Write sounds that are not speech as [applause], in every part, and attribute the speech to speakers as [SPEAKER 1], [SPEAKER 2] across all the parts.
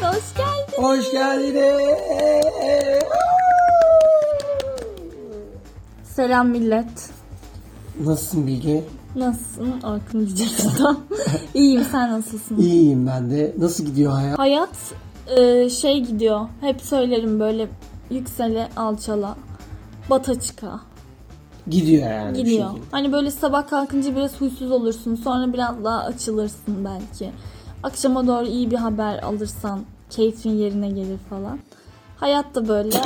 [SPEAKER 1] geldin.
[SPEAKER 2] Hoş geldiniz.
[SPEAKER 1] Selam millet.
[SPEAKER 2] Nasılsın Bilge?
[SPEAKER 1] Nasılsın? Aklım gidecek tam. İyiyim sen nasılsın?
[SPEAKER 2] İyiyim ben de. Nasıl gidiyor hayat?
[SPEAKER 1] Hayat e, şey gidiyor. Hep söylerim böyle yüksele alçala. Bata çıka.
[SPEAKER 2] Gidiyor yani. bir
[SPEAKER 1] Gidiyor.
[SPEAKER 2] şekilde.
[SPEAKER 1] Hani böyle sabah kalkınca biraz huysuz olursun. Sonra biraz daha açılırsın belki. Akşama doğru iyi bir haber alırsan keyfin yerine gelir falan. Hayat da böyle.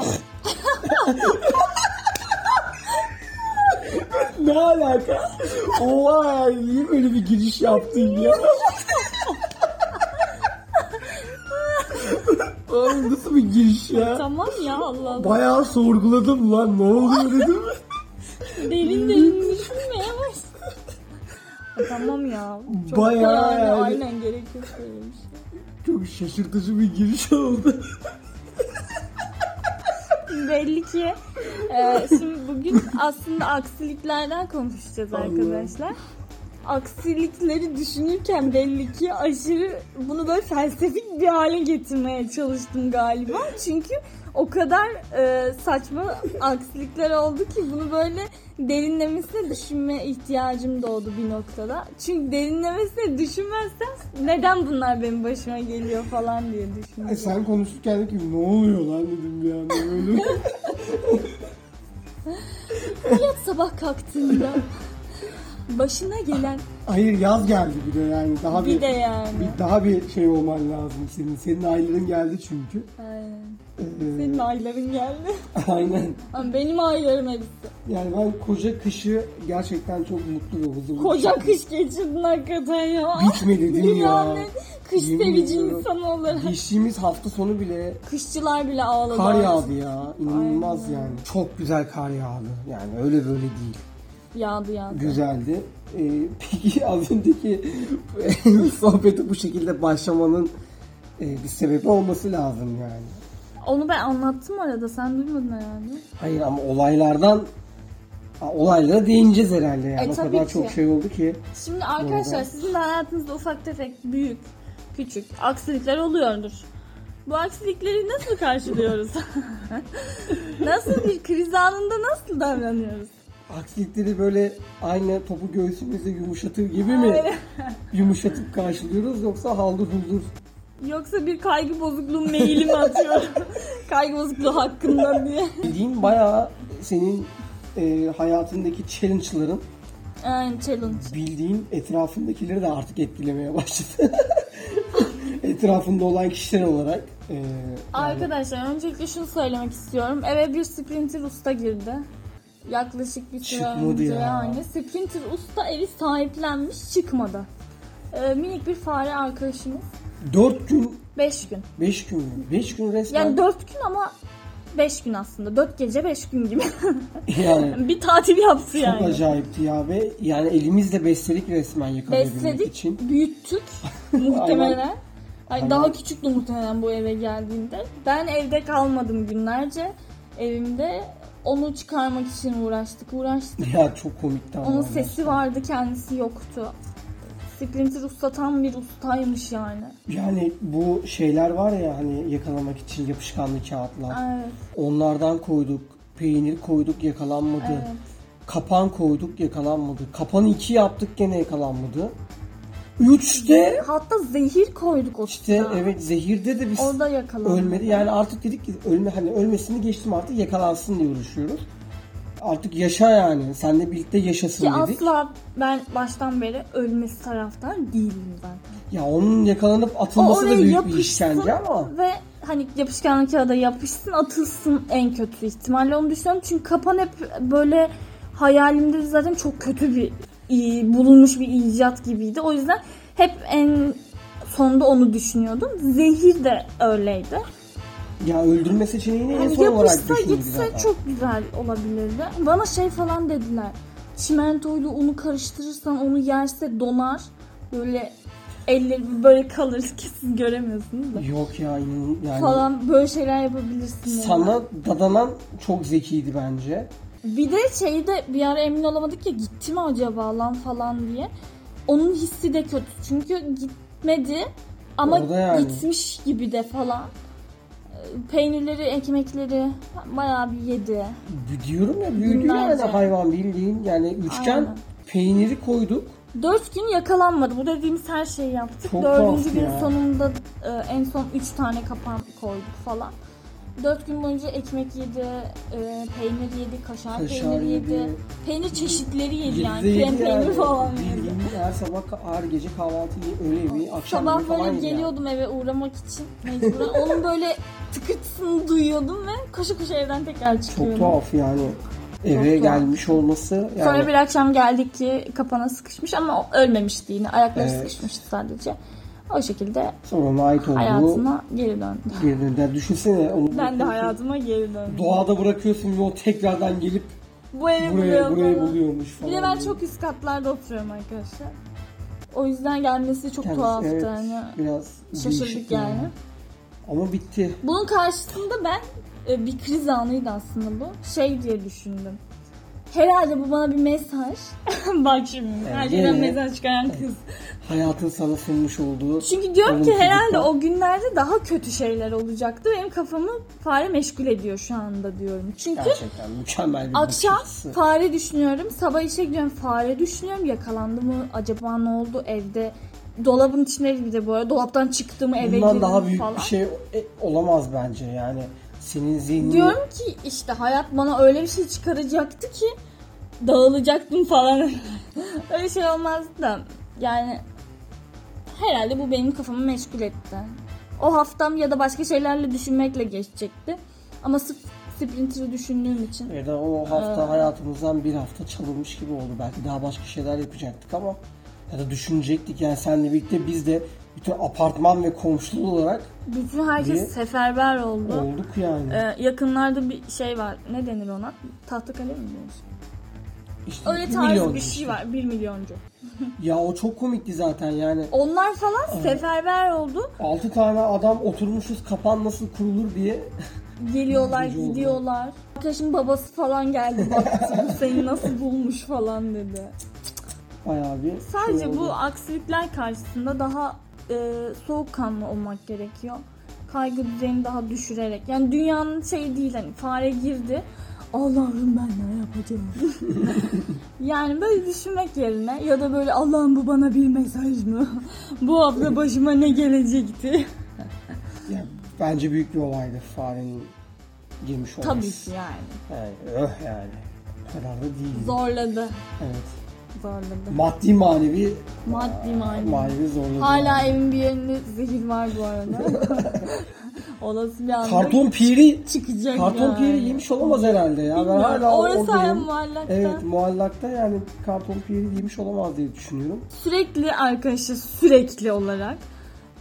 [SPEAKER 2] Ne alaka? Oha niye böyle bir giriş yaptın ya? Oğlum nasıl bir giriş ya?
[SPEAKER 1] tamam ya Allah Allah.
[SPEAKER 2] Bayağı sorguladım lan ne oluyor dedim.
[SPEAKER 1] Derin derin düşünmeye başladım. Tamam ya. Çok
[SPEAKER 2] Bayağı
[SPEAKER 1] da yani,
[SPEAKER 2] yani.
[SPEAKER 1] Aynen gerek yok böyle bir şey.
[SPEAKER 2] Çok şaşırtıcı bir giriş oldu.
[SPEAKER 1] Belli ki e, şimdi bugün aslında aksiliklerden konuşacağız
[SPEAKER 2] Allah.
[SPEAKER 1] arkadaşlar. Aksilikleri düşünürken belli ki aşırı bunu böyle felsefik bir hale getirmeye çalıştım galiba. Çünkü o kadar e, saçma aksilikler oldu ki bunu böyle derinlemesine düşünme ihtiyacım doğdu bir noktada. Çünkü derinlemesine düşünmezsem neden bunlar benim başıma geliyor falan diye düşündüm.
[SPEAKER 2] Ay, sen konuşurken dedim ki ne oluyor lan dedim bir anda böyle.
[SPEAKER 1] Hayat sabah kalktığında başına
[SPEAKER 2] [laughs]
[SPEAKER 1] gelen
[SPEAKER 2] Hayır yaz geldi bir de yani daha bir,
[SPEAKER 1] bir de yani.
[SPEAKER 2] bir daha bir şey olman lazım senin. Senin ayların geldi çünkü.
[SPEAKER 1] Aynen.
[SPEAKER 2] Ee, [laughs]
[SPEAKER 1] Senin ayların geldi.
[SPEAKER 2] aynen.
[SPEAKER 1] Ama benim aylarım hepsi.
[SPEAKER 2] Yani ben koca kışı gerçekten çok mutlu ve huzurlu. şey.
[SPEAKER 1] Koca kış geçirdin hakikaten ya.
[SPEAKER 2] Bitmedi [laughs] değil mi ya?
[SPEAKER 1] Dünyanın kış
[SPEAKER 2] Yemin
[SPEAKER 1] sevici
[SPEAKER 2] ediyorum.
[SPEAKER 1] insanı olarak.
[SPEAKER 2] Geçtiğimiz hafta sonu bile
[SPEAKER 1] Kışçılar bile ağladı.
[SPEAKER 2] kar yağdı ya. İnanılmaz yani. Çok güzel kar yağdı. Yani öyle böyle değil.
[SPEAKER 1] Yağdı yağdı.
[SPEAKER 2] Güzeldi. Ee, peki [laughs] az önceki sohbeti bu şekilde başlamanın e, bir sebebi olması lazım yani.
[SPEAKER 1] Onu ben anlattım arada sen duymadın herhalde.
[SPEAKER 2] Hayır ama olaylardan Ha, olaylara değineceğiz herhalde yani.
[SPEAKER 1] E,
[SPEAKER 2] o
[SPEAKER 1] tabii
[SPEAKER 2] kadar
[SPEAKER 1] ki.
[SPEAKER 2] çok şey oldu ki.
[SPEAKER 1] Şimdi arkadaşlar
[SPEAKER 2] Doğru.
[SPEAKER 1] sizin de hayatınızda ufak tefek, büyük, küçük aksilikler oluyordur. Bu aksilikleri nasıl karşılıyoruz? nasıl bir kriz anında nasıl davranıyoruz?
[SPEAKER 2] Aksilikleri böyle aynı topu göğsümüzde yumuşatır gibi mi? Yumuşatıp karşılıyoruz yoksa haldır huldur.
[SPEAKER 1] Yoksa bir kaygı bozukluğu maili mi atıyorum? kaygı bozukluğu hakkında diye.
[SPEAKER 2] Bildiğin bayağı senin e, hayatındaki challenge'ların
[SPEAKER 1] Aynen challenge.
[SPEAKER 2] bildiğin etrafındakileri de artık etkilemeye başladı. [laughs] Etrafında olan kişiler olarak. e, yani
[SPEAKER 1] Arkadaşlar öncelikle şunu söylemek istiyorum. Eve bir Sprinter usta girdi. Yaklaşık bir süre
[SPEAKER 2] Çıkmadı
[SPEAKER 1] önce
[SPEAKER 2] ya.
[SPEAKER 1] yani. Sprinter usta evi sahiplenmiş çıkmadı. Ee, minik bir fare arkadaşımız.
[SPEAKER 2] Dört gün,
[SPEAKER 1] 5 gün.
[SPEAKER 2] 5 gün mü? 5 gün resmen.
[SPEAKER 1] Yani 4 gün ama 5 gün aslında. 4 gece 5 gün gibi. [laughs]
[SPEAKER 2] yani
[SPEAKER 1] bir tatil yaptı
[SPEAKER 2] Çok
[SPEAKER 1] yani.
[SPEAKER 2] acayipti ya ve yani elimizle besledik resmen yakalayabilmek
[SPEAKER 1] Besledik,
[SPEAKER 2] için. [laughs]
[SPEAKER 1] büyüttük muhtemelen. Ay,
[SPEAKER 2] Aynen.
[SPEAKER 1] daha küçüktü muhtemelen bu eve geldiğinde. Ben evde kalmadım günlerce evimde. Onu çıkarmak için uğraştık, uğraştık.
[SPEAKER 2] Ya çok komikti ama.
[SPEAKER 1] Onun
[SPEAKER 2] gerçekten.
[SPEAKER 1] sesi vardı, kendisi yoktu. Splinter usta tam bir ustaymış yani.
[SPEAKER 2] Yani bu şeyler var ya hani yakalamak için yapışkanlı kağıtlar.
[SPEAKER 1] Evet,
[SPEAKER 2] Onlardan koyduk. Peynir koyduk yakalanmadı.
[SPEAKER 1] evet.
[SPEAKER 2] Kapan koyduk yakalanmadı. Kapan iki yaptık gene yakalanmadı. Üçte
[SPEAKER 1] Hatta zehir koyduk o
[SPEAKER 2] işte
[SPEAKER 1] tuzağa.
[SPEAKER 2] evet zehirde de biz
[SPEAKER 1] Orada yakalandı.
[SPEAKER 2] ölmedi. Yani artık dedik ki ölme hani ölmesini geçtim artık yakalansın diye uğraşıyoruz. Artık yaşa yani. Senle birlikte yaşasın
[SPEAKER 1] Ki
[SPEAKER 2] dedik.
[SPEAKER 1] asla ben baştan beri ölmesi taraftan değilim zaten.
[SPEAKER 2] Ya onun yakalanıp
[SPEAKER 1] O
[SPEAKER 2] atılması da
[SPEAKER 1] oraya
[SPEAKER 2] büyük bir
[SPEAKER 1] yapışsın
[SPEAKER 2] işkence ama
[SPEAKER 1] ve hani yapışkanlı kağıda yapışsın atılsın en kötü ihtimalle onu düşünüyorum. Çünkü kapan hep böyle hayalimde zaten çok kötü bir i- bulunmuş bir icat gibiydi. O yüzden hep en sonda onu düşünüyordum. Zehir de öyleydi.
[SPEAKER 2] ya öldürme seçeneğini en
[SPEAKER 1] Hani
[SPEAKER 2] son olarak
[SPEAKER 1] yapışsa
[SPEAKER 2] düşündük
[SPEAKER 1] gitse
[SPEAKER 2] zaten.
[SPEAKER 1] çok güzel olabilirdi. Bana şey falan dediler. Çimentoyla unu karıştırırsan onu yerse donar. Böyle elleri böyle kalır [laughs] ki siz göremiyorsunuz da.
[SPEAKER 2] Yok ya inanın yani
[SPEAKER 1] Falan böyle şeyler yapabilirsin. yani.
[SPEAKER 2] sana dadanan çok zekiydi bence.
[SPEAKER 1] Bir de şeyi de bir ara emin olamadık ya gitti mi acaba lan falan diye. Onun hissi de kötü çünkü gitmedi ama
[SPEAKER 2] Orada yani.
[SPEAKER 1] gitmiş gibi de falan. peynirleri, ekmekleri bayağı bir yedi.
[SPEAKER 2] Diyorum ya büyüdü yani
[SPEAKER 1] Günlerce.
[SPEAKER 2] hayvan bildiğin. Yani üçgen
[SPEAKER 1] Aynen.
[SPEAKER 2] peyniri koyduk.
[SPEAKER 1] Dört gün yakalanmadı. Bu dediğimiz her şeyi yaptık.
[SPEAKER 2] Çok tuhaf
[SPEAKER 1] Dördüncü gün
[SPEAKER 2] ya.
[SPEAKER 1] sonunda e, en son üç tane kapan koyduk falan. Dört gün boyunca ekmek yedi, e, peynir yedi, kaşar,
[SPEAKER 2] Kaşar
[SPEAKER 1] peyniri yedi.
[SPEAKER 2] yedi.
[SPEAKER 1] Peynir çeşitleri yedi yani.
[SPEAKER 2] Yedi
[SPEAKER 1] Krem
[SPEAKER 2] yani.
[SPEAKER 1] peyniri falan yedi.
[SPEAKER 2] Bildiğin her sabah ağır gece kahvaltı yiyor, öğle yemeği, akşam yemeği
[SPEAKER 1] Sabah
[SPEAKER 2] falan
[SPEAKER 1] böyle
[SPEAKER 2] yiyor.
[SPEAKER 1] geliyordum eve uğramak için mecburen. [laughs] Onun böyle tıkırtısını duyuyordum ve koşu koşu evden tekrar çıkıyordum.
[SPEAKER 2] Çok tuhaf yani. Eve
[SPEAKER 1] tuhaf.
[SPEAKER 2] gelmiş olması yani
[SPEAKER 1] Sonra bir akşam geldik ki kapana sıkışmış ama o ölmemişti yine. Ayakları
[SPEAKER 2] Evet.
[SPEAKER 1] sıkışmıştı sadece. O şekilde
[SPEAKER 2] sonuna ait olduğu
[SPEAKER 1] hayatıma geri döndü.
[SPEAKER 2] bir dönem. Düşünsene onu
[SPEAKER 1] Ben de
[SPEAKER 2] bırakıyorsun,
[SPEAKER 1] hayatıma geri döndüm.
[SPEAKER 2] Doğada bırakıyorsun ve o tekrardan gelip
[SPEAKER 1] Bu evi
[SPEAKER 2] buraya
[SPEAKER 1] buluyorum.
[SPEAKER 2] burayı
[SPEAKER 1] falan.
[SPEAKER 2] buluyormuş falan.
[SPEAKER 1] Bir de ben
[SPEAKER 2] diye.
[SPEAKER 1] çok üst katlarda oturuyorum arkadaşlar. O yüzden gelmesi çok
[SPEAKER 2] Kendisi,
[SPEAKER 1] tuhaftı.
[SPEAKER 2] evet,
[SPEAKER 1] yani.
[SPEAKER 2] Biraz değişik
[SPEAKER 1] Şaşırdık yani.
[SPEAKER 2] Ama bitti.
[SPEAKER 1] Bunun karşısında ben e, bir kriz anıydı aslında bu. Şey diye düşündüm. Herhalde bu bana bir mesaj. [laughs] Bak şimdi her
[SPEAKER 2] Evet.
[SPEAKER 1] şeyden mesaj çıkaran kız.
[SPEAKER 2] Hayatın sana sunmuş olduğu
[SPEAKER 1] Çünkü diyorum ki
[SPEAKER 2] Olumsuzluklar.
[SPEAKER 1] herhalde o günlerde daha kötü şeyler olacaktı. Benim kafamı fare meşgul ediyor şu anda diyorum. Çünkü
[SPEAKER 2] gerçekten mükemmel bir
[SPEAKER 1] akşam
[SPEAKER 2] bakış açısı.
[SPEAKER 1] fare düşünüyorum. Sabah işe gidiyorum fare düşünüyorum. Yakalandı mı? Acaba ne oldu evde? Dolabın içindeydi bir de bu arada. Dolaptan çıktı mı eve girdi
[SPEAKER 2] Bundan daha
[SPEAKER 1] mi
[SPEAKER 2] büyük
[SPEAKER 1] falan.
[SPEAKER 2] bir şey e, olamaz bence yani. Senin zihnin
[SPEAKER 1] Diyorum ki işte hayat bana öyle bir şey çıkaracaktı ki dağılacaktım falan. [laughs] öyle şey olmazdı da yani herhalde bu benim kafamı meşgul etti. O haftam ya da başka şeylerle düşünmekle geçecekti. Ama sırf Sprinter'ı düşündüğüm için.
[SPEAKER 2] Ya da o hafta hayatımızdan bir hafta çalınmış gibi oldu. Belki daha başka şeyler yapacaktık ama ya da düşünecektik. Yani seninle birlikte biz de bütün apartman ve komşulu olarak
[SPEAKER 1] Bütün herkes
[SPEAKER 2] Niye?
[SPEAKER 1] seferber oldu.
[SPEAKER 2] olduk yani.
[SPEAKER 1] Ee, yakınlarda bir şey var. Ne denir ona? Tahtakale mi diyoruz?
[SPEAKER 2] İşte
[SPEAKER 1] Öyle
[SPEAKER 2] bir
[SPEAKER 1] tarz
[SPEAKER 2] milyon
[SPEAKER 1] bir
[SPEAKER 2] işte.
[SPEAKER 1] şey var. Bir milyoncu.
[SPEAKER 2] Ya o çok komikti zaten yani.
[SPEAKER 1] Onlar falan seferber oldu.
[SPEAKER 2] 6 tane adam oturmuşuz kapan nasıl kurulur diye. [laughs]
[SPEAKER 1] Geliyorlar,
[SPEAKER 2] Gece oldu.
[SPEAKER 1] gidiyorlar. Arkadaşın babası falan geldi baktı bu seni nasıl bulmuş falan dedi.
[SPEAKER 2] Bayağı bir şey
[SPEAKER 1] Sadece
[SPEAKER 2] oldu.
[SPEAKER 1] bu aksilikler karşısında daha e, soğukkanlı olmak gerekiyor. Kaygı düzeyini daha düşürerek. Yani dünyanın şey değil hani fare girdi. Allah'ım ben ne yapacağım? [laughs] yani böyle düşünmek yerine ya da böyle Allah'ım bu bana bir mesaj mı? bu hafta başıma ne gelecekti?
[SPEAKER 2] Yani bence büyük bir olaydı farenin girmiş olması.
[SPEAKER 1] Tabii ki yani.
[SPEAKER 2] Yani öh yani. Kararlı değil.
[SPEAKER 1] Zorladı.
[SPEAKER 2] Evet.
[SPEAKER 1] Zorladı.
[SPEAKER 2] Maddi manevi
[SPEAKER 1] Maddi manevi.
[SPEAKER 2] manevi zorladı.
[SPEAKER 1] Hala
[SPEAKER 2] yani.
[SPEAKER 1] evin bir yerinde zehir var bu
[SPEAKER 2] [laughs]
[SPEAKER 1] arada. Olası bir anda
[SPEAKER 2] Karton piri
[SPEAKER 1] çıkacak
[SPEAKER 2] Karton
[SPEAKER 1] yani.
[SPEAKER 2] piri yemiş olamaz herhalde ya. Ben
[SPEAKER 1] Bilmiyorum.
[SPEAKER 2] hala
[SPEAKER 1] Orası hala
[SPEAKER 2] oradayım.
[SPEAKER 1] muallakta.
[SPEAKER 2] Evet muallakta yani karton piri yemiş olamaz diye düşünüyorum.
[SPEAKER 1] Sürekli arkadaşlar sürekli olarak.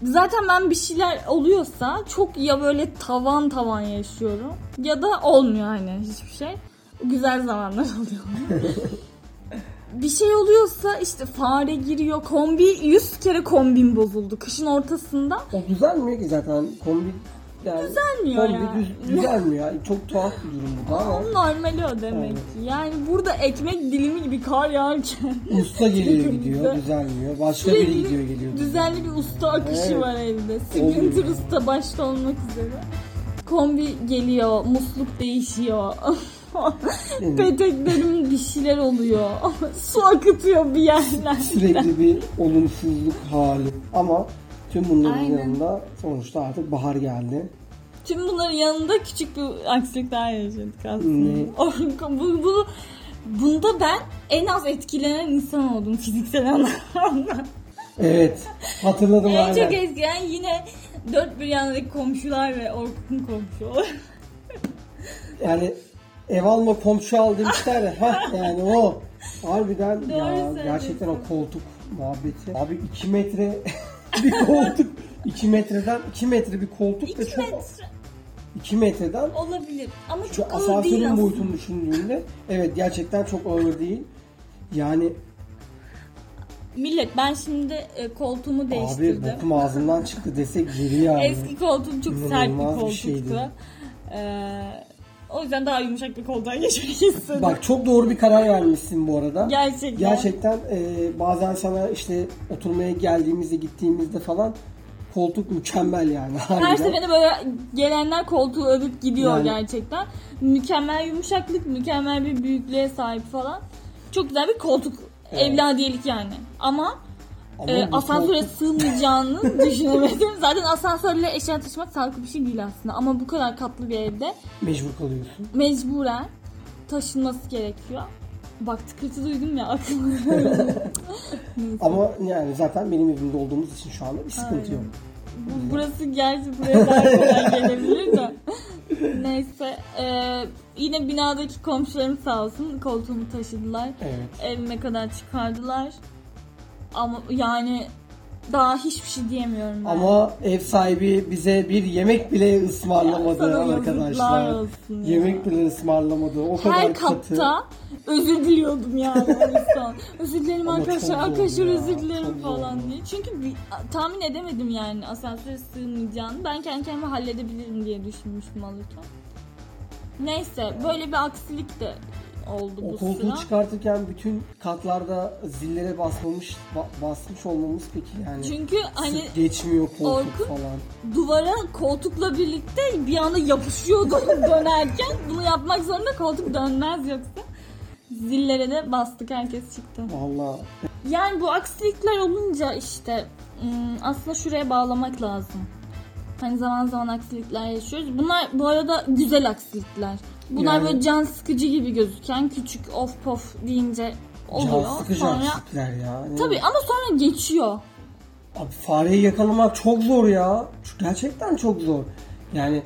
[SPEAKER 1] Zaten ben bir şeyler oluyorsa çok ya böyle tavan tavan yaşıyorum ya da olmuyor hani hiçbir şey. Güzel zamanlar [laughs] oluyor.
[SPEAKER 2] [laughs]
[SPEAKER 1] bir şey oluyorsa işte fare giriyor kombi 100 kere kombin bozuldu kışın ortasında.
[SPEAKER 2] O düzelmiyor ki zaten kombi yani
[SPEAKER 1] Düzelmiyor
[SPEAKER 2] kombi
[SPEAKER 1] ya.
[SPEAKER 2] düz- düzelmiyor. Yani Çok tuhaf bir durum bu da ama
[SPEAKER 1] Onun normali o demek ki. Yani burada ekmek dilimi gibi kar yağarken [laughs]
[SPEAKER 2] usta geliyor
[SPEAKER 1] Bizim
[SPEAKER 2] gidiyor
[SPEAKER 1] bize-
[SPEAKER 2] düzelmiyor. Başka
[SPEAKER 1] Sürekli
[SPEAKER 2] biri gidiyor geliyor.
[SPEAKER 1] düzenli bir usta akışı
[SPEAKER 2] Evet.
[SPEAKER 1] var evde.
[SPEAKER 2] Oluyor
[SPEAKER 1] Sprinter
[SPEAKER 2] ya.
[SPEAKER 1] usta başta olmak üzere. Kombi geliyor, musluk değişiyor. [laughs]
[SPEAKER 2] Yani
[SPEAKER 1] Peteklerim bir şeyler oluyor. [laughs] Su akıtıyor bir yerler.
[SPEAKER 2] sürekli bir olumsuzluk hali ama tüm bunların
[SPEAKER 1] Aynen.
[SPEAKER 2] yanında sonuçta artık bahar geldi.
[SPEAKER 1] Tüm bunların yanında küçük bir aksilik daha yaşadık [laughs]
[SPEAKER 2] Ne?
[SPEAKER 1] aslında. Bu, bunu, bunda ben en az etkilenen insan oldum fiziksel anlamda.
[SPEAKER 2] Evet hatırladım
[SPEAKER 1] En
[SPEAKER 2] aynen.
[SPEAKER 1] çok eskiyen yine dört bir yandaki komşular ve Orkut'un komşu. [laughs]
[SPEAKER 2] Yani ev alma komşu al demişler ya. Hah yani o. Harbiden ya
[SPEAKER 1] söylüyorsun.
[SPEAKER 2] gerçekten o koltuk muhabbeti. Abi 2 metre [laughs] bir koltuk. 2 metreden 2 metre bir koltuk ve
[SPEAKER 1] İki
[SPEAKER 2] çok
[SPEAKER 1] metre
[SPEAKER 2] 2 metreden
[SPEAKER 1] olabilir ama
[SPEAKER 2] şu
[SPEAKER 1] çok ağır değil
[SPEAKER 2] asansörün
[SPEAKER 1] aslında.
[SPEAKER 2] boyutunu düşündüğünde evet gerçekten çok ağır değil. Yani
[SPEAKER 1] Millet ben şimdi e, koltuğumu
[SPEAKER 2] abi
[SPEAKER 1] değiştirdim.
[SPEAKER 2] bokum ağzımdan çıktı desek geri yani.
[SPEAKER 1] Eski koltuğum çok sert bir
[SPEAKER 2] İnanılmaz bir
[SPEAKER 1] koltuktu.
[SPEAKER 2] şeydi.
[SPEAKER 1] Ee, o yüzden daha yumuşak bir koltuğa [laughs] geçmek istedim.
[SPEAKER 2] Bak çok doğru bir karar vermişsin bu arada.
[SPEAKER 1] Gerçekten.
[SPEAKER 2] Gerçekten e, bazen sana işte oturmaya geldiğimizde gittiğimizde falan Koltuk mükemmel yani.
[SPEAKER 1] Her
[SPEAKER 2] harbiden.
[SPEAKER 1] seferinde böyle gelenler koltuğu övüp gidiyor
[SPEAKER 2] Yani.
[SPEAKER 1] gerçekten. Mükemmel yumuşaklık, mükemmel bir büyüklüğe sahip falan. Çok güzel bir koltuk
[SPEAKER 2] Evet.
[SPEAKER 1] evladiyelik yani. Ama,
[SPEAKER 2] Ama
[SPEAKER 1] e,
[SPEAKER 2] bu
[SPEAKER 1] asansöre
[SPEAKER 2] koltuk- [laughs]
[SPEAKER 1] sığmayacağını düşünemedim. Zaten asansörle eşya taşımak sağlıklı bir şey değil aslında. Ama bu kadar katlı bir evde
[SPEAKER 2] mecbur kalıyorsun.
[SPEAKER 1] mecburen taşınması gerekiyor. Bak tıkırtı duydum ya aklıma.
[SPEAKER 2] [laughs] Ama yani zaten benim evimde olduğumuz için şu anda bir sıkıntı
[SPEAKER 1] Aynen.
[SPEAKER 2] yok.
[SPEAKER 1] Bu- Burası gerçi buraya daha kolay gelebilir
[SPEAKER 2] [laughs]
[SPEAKER 1] de. Neyse. eee, yine binadaki komşularım sağ olsun koltuğumu taşıdılar.
[SPEAKER 2] Evet.
[SPEAKER 1] Evime kadar çıkardılar. Ama yani daha hiçbir şey diyemiyorum ben.
[SPEAKER 2] Ama ev sahibi bize bir yemek bile
[SPEAKER 1] Ya
[SPEAKER 2] ısmarlamadı
[SPEAKER 1] sana yazıklar
[SPEAKER 2] arkadaşlar.
[SPEAKER 1] olsun ya.
[SPEAKER 2] Yemek bile ısmarlamadı. O kadar
[SPEAKER 1] her
[SPEAKER 2] katı.
[SPEAKER 1] katta özür diliyordum yani o yüzden. özür dilerim
[SPEAKER 2] Ama
[SPEAKER 1] arkadaşlar,
[SPEAKER 2] çok zor
[SPEAKER 1] arkadaşlar
[SPEAKER 2] ya,
[SPEAKER 1] özür
[SPEAKER 2] çok
[SPEAKER 1] dilerim
[SPEAKER 2] zor.
[SPEAKER 1] falan diye. Çünkü bir, tahmin edemedim yani asansöre sığmayacağını. Ben kendi kendime halledebilirim diye düşünmüştüm alırken. Neyse böyle bir aksilik de oldu
[SPEAKER 2] O
[SPEAKER 1] bu
[SPEAKER 2] koltuğu
[SPEAKER 1] sıra.
[SPEAKER 2] çıkartırken bütün katlarda zillere basmamış ba- basmış olmamız peki yani.
[SPEAKER 1] Çünkü hani
[SPEAKER 2] Sık geçmiyor koltuk
[SPEAKER 1] Orkun-
[SPEAKER 2] falan.
[SPEAKER 1] duvara koltukla birlikte bir anda yapışıyordu [laughs] dönerken. Bunu yapmak zorunda koltuk dönmez yoksa. Zillere de bastık herkes çıktı.
[SPEAKER 2] Valla
[SPEAKER 1] Yani bu aksilikler olunca işte ım, aslında şuraya bağlamak lazım. Hani zaman zaman aksilikler yaşıyoruz. Bunlar bu arada güzel aksilikler. Bunlar
[SPEAKER 2] Yani-
[SPEAKER 1] böyle can sıkıcı gibi gözüken küçük of pof deyince oluyor.
[SPEAKER 2] can sıkıcı
[SPEAKER 1] sonra
[SPEAKER 2] aksilikler ya. Yani
[SPEAKER 1] tabii ama sonra geçiyor.
[SPEAKER 2] Abi fareyi yakalamak çok zor ya. Şu- Gerçekten çok zor. Yani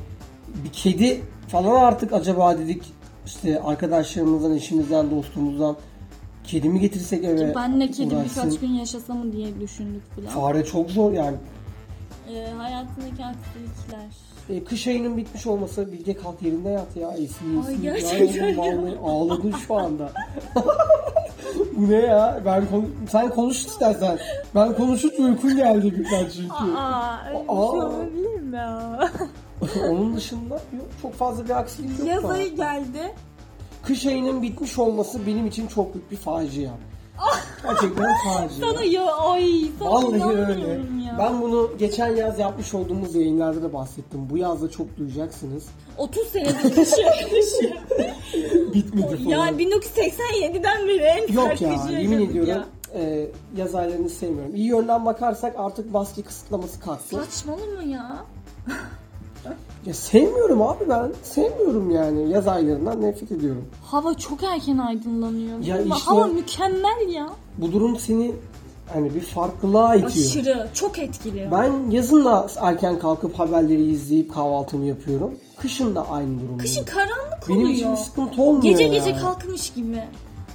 [SPEAKER 2] bir kedi falan artık acaba dedik işte arkadaşlarımızdan, eşimizden, dostumuzdan kedi mi getirsek eve?
[SPEAKER 1] ben ne kedi
[SPEAKER 2] uğraşsın?
[SPEAKER 1] birkaç gün yaşasa mı diye düşündük bile.
[SPEAKER 2] Fare çok zor yani.
[SPEAKER 1] Ee, hayatındaki aksilikler.
[SPEAKER 2] E, kış ayının bitmiş olması Bilge kalk yerinde yat ya. Esin
[SPEAKER 1] Ay,
[SPEAKER 2] yesin.
[SPEAKER 1] gerçekten ya.
[SPEAKER 2] Ağladın şu anda. [laughs] Bu ne ya? Ben kon- sen konuş istersen. Ben konuşup uykun geldi birden çünkü.
[SPEAKER 1] Aa, öyle bir şey
[SPEAKER 2] Aa.
[SPEAKER 1] olabilir mi ya?
[SPEAKER 2] [laughs] Onun dışında yok, çok fazla bir aksilik yok.
[SPEAKER 1] Yaz
[SPEAKER 2] da.
[SPEAKER 1] ayı geldi.
[SPEAKER 2] Kış ayının bitmiş olması benim için çok büyük bir facia. Gerçekten facia.
[SPEAKER 1] Ah! Sana ya ay sana
[SPEAKER 2] Vallahi öyle.
[SPEAKER 1] inanmıyorum ya.
[SPEAKER 2] Ben bunu geçen yaz yapmış olduğumuz yayınlarda da bahsettim. Bu yaz da çok duyacaksınız.
[SPEAKER 1] [laughs] 30 senedir yaşıyor.
[SPEAKER 2] Bitmedi falan.
[SPEAKER 1] ya 1987'den beri en
[SPEAKER 2] Yok
[SPEAKER 1] sert
[SPEAKER 2] ya
[SPEAKER 1] gücü
[SPEAKER 2] yemin
[SPEAKER 1] yaşadık
[SPEAKER 2] ediyorum
[SPEAKER 1] ya.
[SPEAKER 2] e, yaz aylarını sevmiyorum. İyi yönden bakarsak artık baskı kısıtlaması
[SPEAKER 1] Ah.
[SPEAKER 2] kalktı.
[SPEAKER 1] Saçmalama ya.
[SPEAKER 2] Ya sevmiyorum abi ben. Sevmiyorum yani. Yaz aylarından nefret ediyorum.
[SPEAKER 1] Hava çok erken aydınlanıyor.
[SPEAKER 2] Ya
[SPEAKER 1] Ama
[SPEAKER 2] işte-
[SPEAKER 1] Hava mükemmel ya.
[SPEAKER 2] Bu durum seni hani bir farklılığa itiyor.
[SPEAKER 1] Aşırı. Çok etkili.
[SPEAKER 2] Ben yazın da erken kalkıp haberleri izleyip kahvaltımı yapıyorum. Kışın da aynı durum.
[SPEAKER 1] Kışın
[SPEAKER 2] oluyor.
[SPEAKER 1] karanlık
[SPEAKER 2] Benim için
[SPEAKER 1] oluyor.
[SPEAKER 2] bir sıkıntı olmuyor
[SPEAKER 1] Gece
[SPEAKER 2] ya.
[SPEAKER 1] gece kalkmış gibi.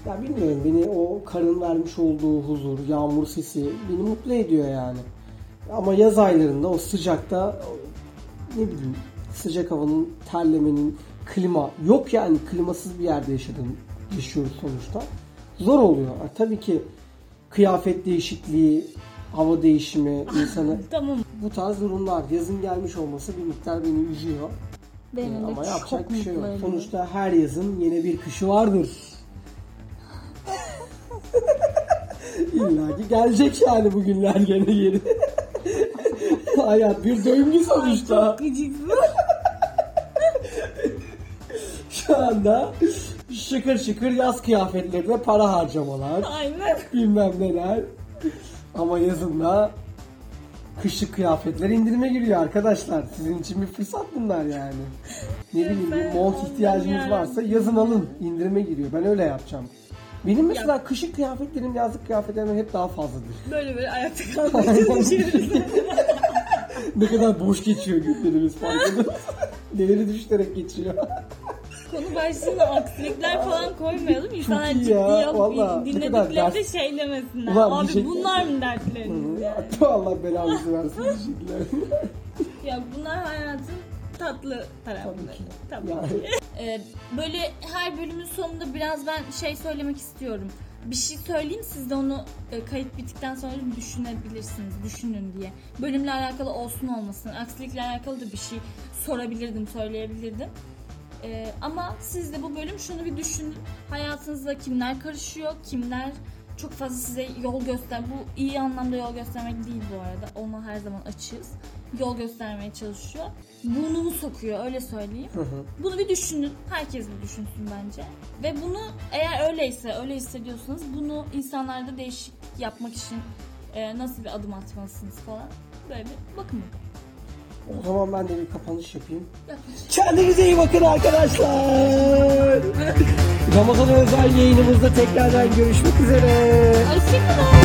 [SPEAKER 2] Ya bilmiyorum beni o karın vermiş olduğu huzur, yağmur sesi beni mutlu ediyor yani. Ama yaz aylarında o sıcakta o- ne bileyim sıcak havanın, terlemenin, klima yok yani klimasız bir yerde yaşadığım yaşıyoruz sonuçta. Zor oluyor. Ha, tabii ki kıyafet değişikliği, hava değişimi insanı
[SPEAKER 1] Tamam.
[SPEAKER 2] bu tarz durumlar yazın gelmiş olması bir miktar beni üzüyor.
[SPEAKER 1] Benim de
[SPEAKER 2] Ama
[SPEAKER 1] çok
[SPEAKER 2] yapacak bir şey yok.
[SPEAKER 1] mutlu ediyor.
[SPEAKER 2] Sonuçta her yazın yine bir
[SPEAKER 1] [laughs]
[SPEAKER 2] kışı vardır. İlla ki gelecek yani bugünler gene geri. Hayat bir döngü sonuçta.
[SPEAKER 1] Çok gıcıksın.
[SPEAKER 2] Şu anda şıkır şıkır yaz kıyafetlerine para harcamalar.
[SPEAKER 1] [laughs] Aynen.
[SPEAKER 2] Bilmem neler. Ama yazında kışlık kıyafetler indirime giriyor arkadaşlar. Sizin için bir fırsat bunlar yani. Ne bileyim bir mont ihtiyacınız varsa yazın alın. indirime giriyor. Ben öyle yapacağım. Benim mesela kışlık kıyafetlerim yazlık kıyafetlerimden hep daha fazladır.
[SPEAKER 1] Böyle böyle ayakta kalmaya çalışıyoruz.
[SPEAKER 2] ne kadar boş geçiyor günlerimiz farkında. Neleri düşünerek geçiyor.
[SPEAKER 1] Konu başlığına aksilikler falan koymayalım. İnsanlar
[SPEAKER 2] iyi
[SPEAKER 1] ciddiye
[SPEAKER 2] ya,
[SPEAKER 1] alıp
[SPEAKER 2] vallahi. Ne kadar
[SPEAKER 1] dinlediklerinde şey demesinler.
[SPEAKER 2] Ulan şey-
[SPEAKER 1] Abi
[SPEAKER 2] diyecekler.
[SPEAKER 1] bunlar mı dertleriniz yani?
[SPEAKER 2] Allah belanızı versin. Teşekkürler.
[SPEAKER 1] Ya bunlar hayatın tatlı
[SPEAKER 2] Tabii
[SPEAKER 1] tarafları.
[SPEAKER 2] ki.
[SPEAKER 1] Tabii.
[SPEAKER 2] Yani.
[SPEAKER 1] Ee, böyle her bölümün sonunda biraz ben şey söylemek istiyorum. Bir şey söyleyeyim siz de onu e, kayıt bittikten sonra düşünebilirsiniz, düşünün diye. Bölümle alakalı olsun olmasın, aksilikle alakalı da bir şey sorabilirdim, söyleyebilirdim. Ee, ama siz de bu bölüm şunu bir düşünün. Hayatınızda kimler karışıyor, kimler çok fazla size yol göster. Bu iyi anlamda yol göstermek değil bu arada. Ona her zaman açığız. Yol göstermeye çalışıyor. Burnumu sokuyor öyle söyleyeyim.
[SPEAKER 2] Hı hı.
[SPEAKER 1] Bunu bir düşünün. Herkes bir düşünsün bence. Ve bunu eğer öyleyse, öyle hissediyorsanız bunu insanlarda değişik yapmak için e, nasıl bir adım atmalısınız falan. Böyle bir bakın bakalım.
[SPEAKER 2] O zaman ben de bir kapanış yapayım.
[SPEAKER 1] Yapın.
[SPEAKER 2] Kendinize iyi bakın arkadaşlar. Ramazan özel yayınımızda tekrardan görüşmek üzere.
[SPEAKER 1] Hoşçakalın.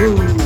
[SPEAKER 2] Bye bye.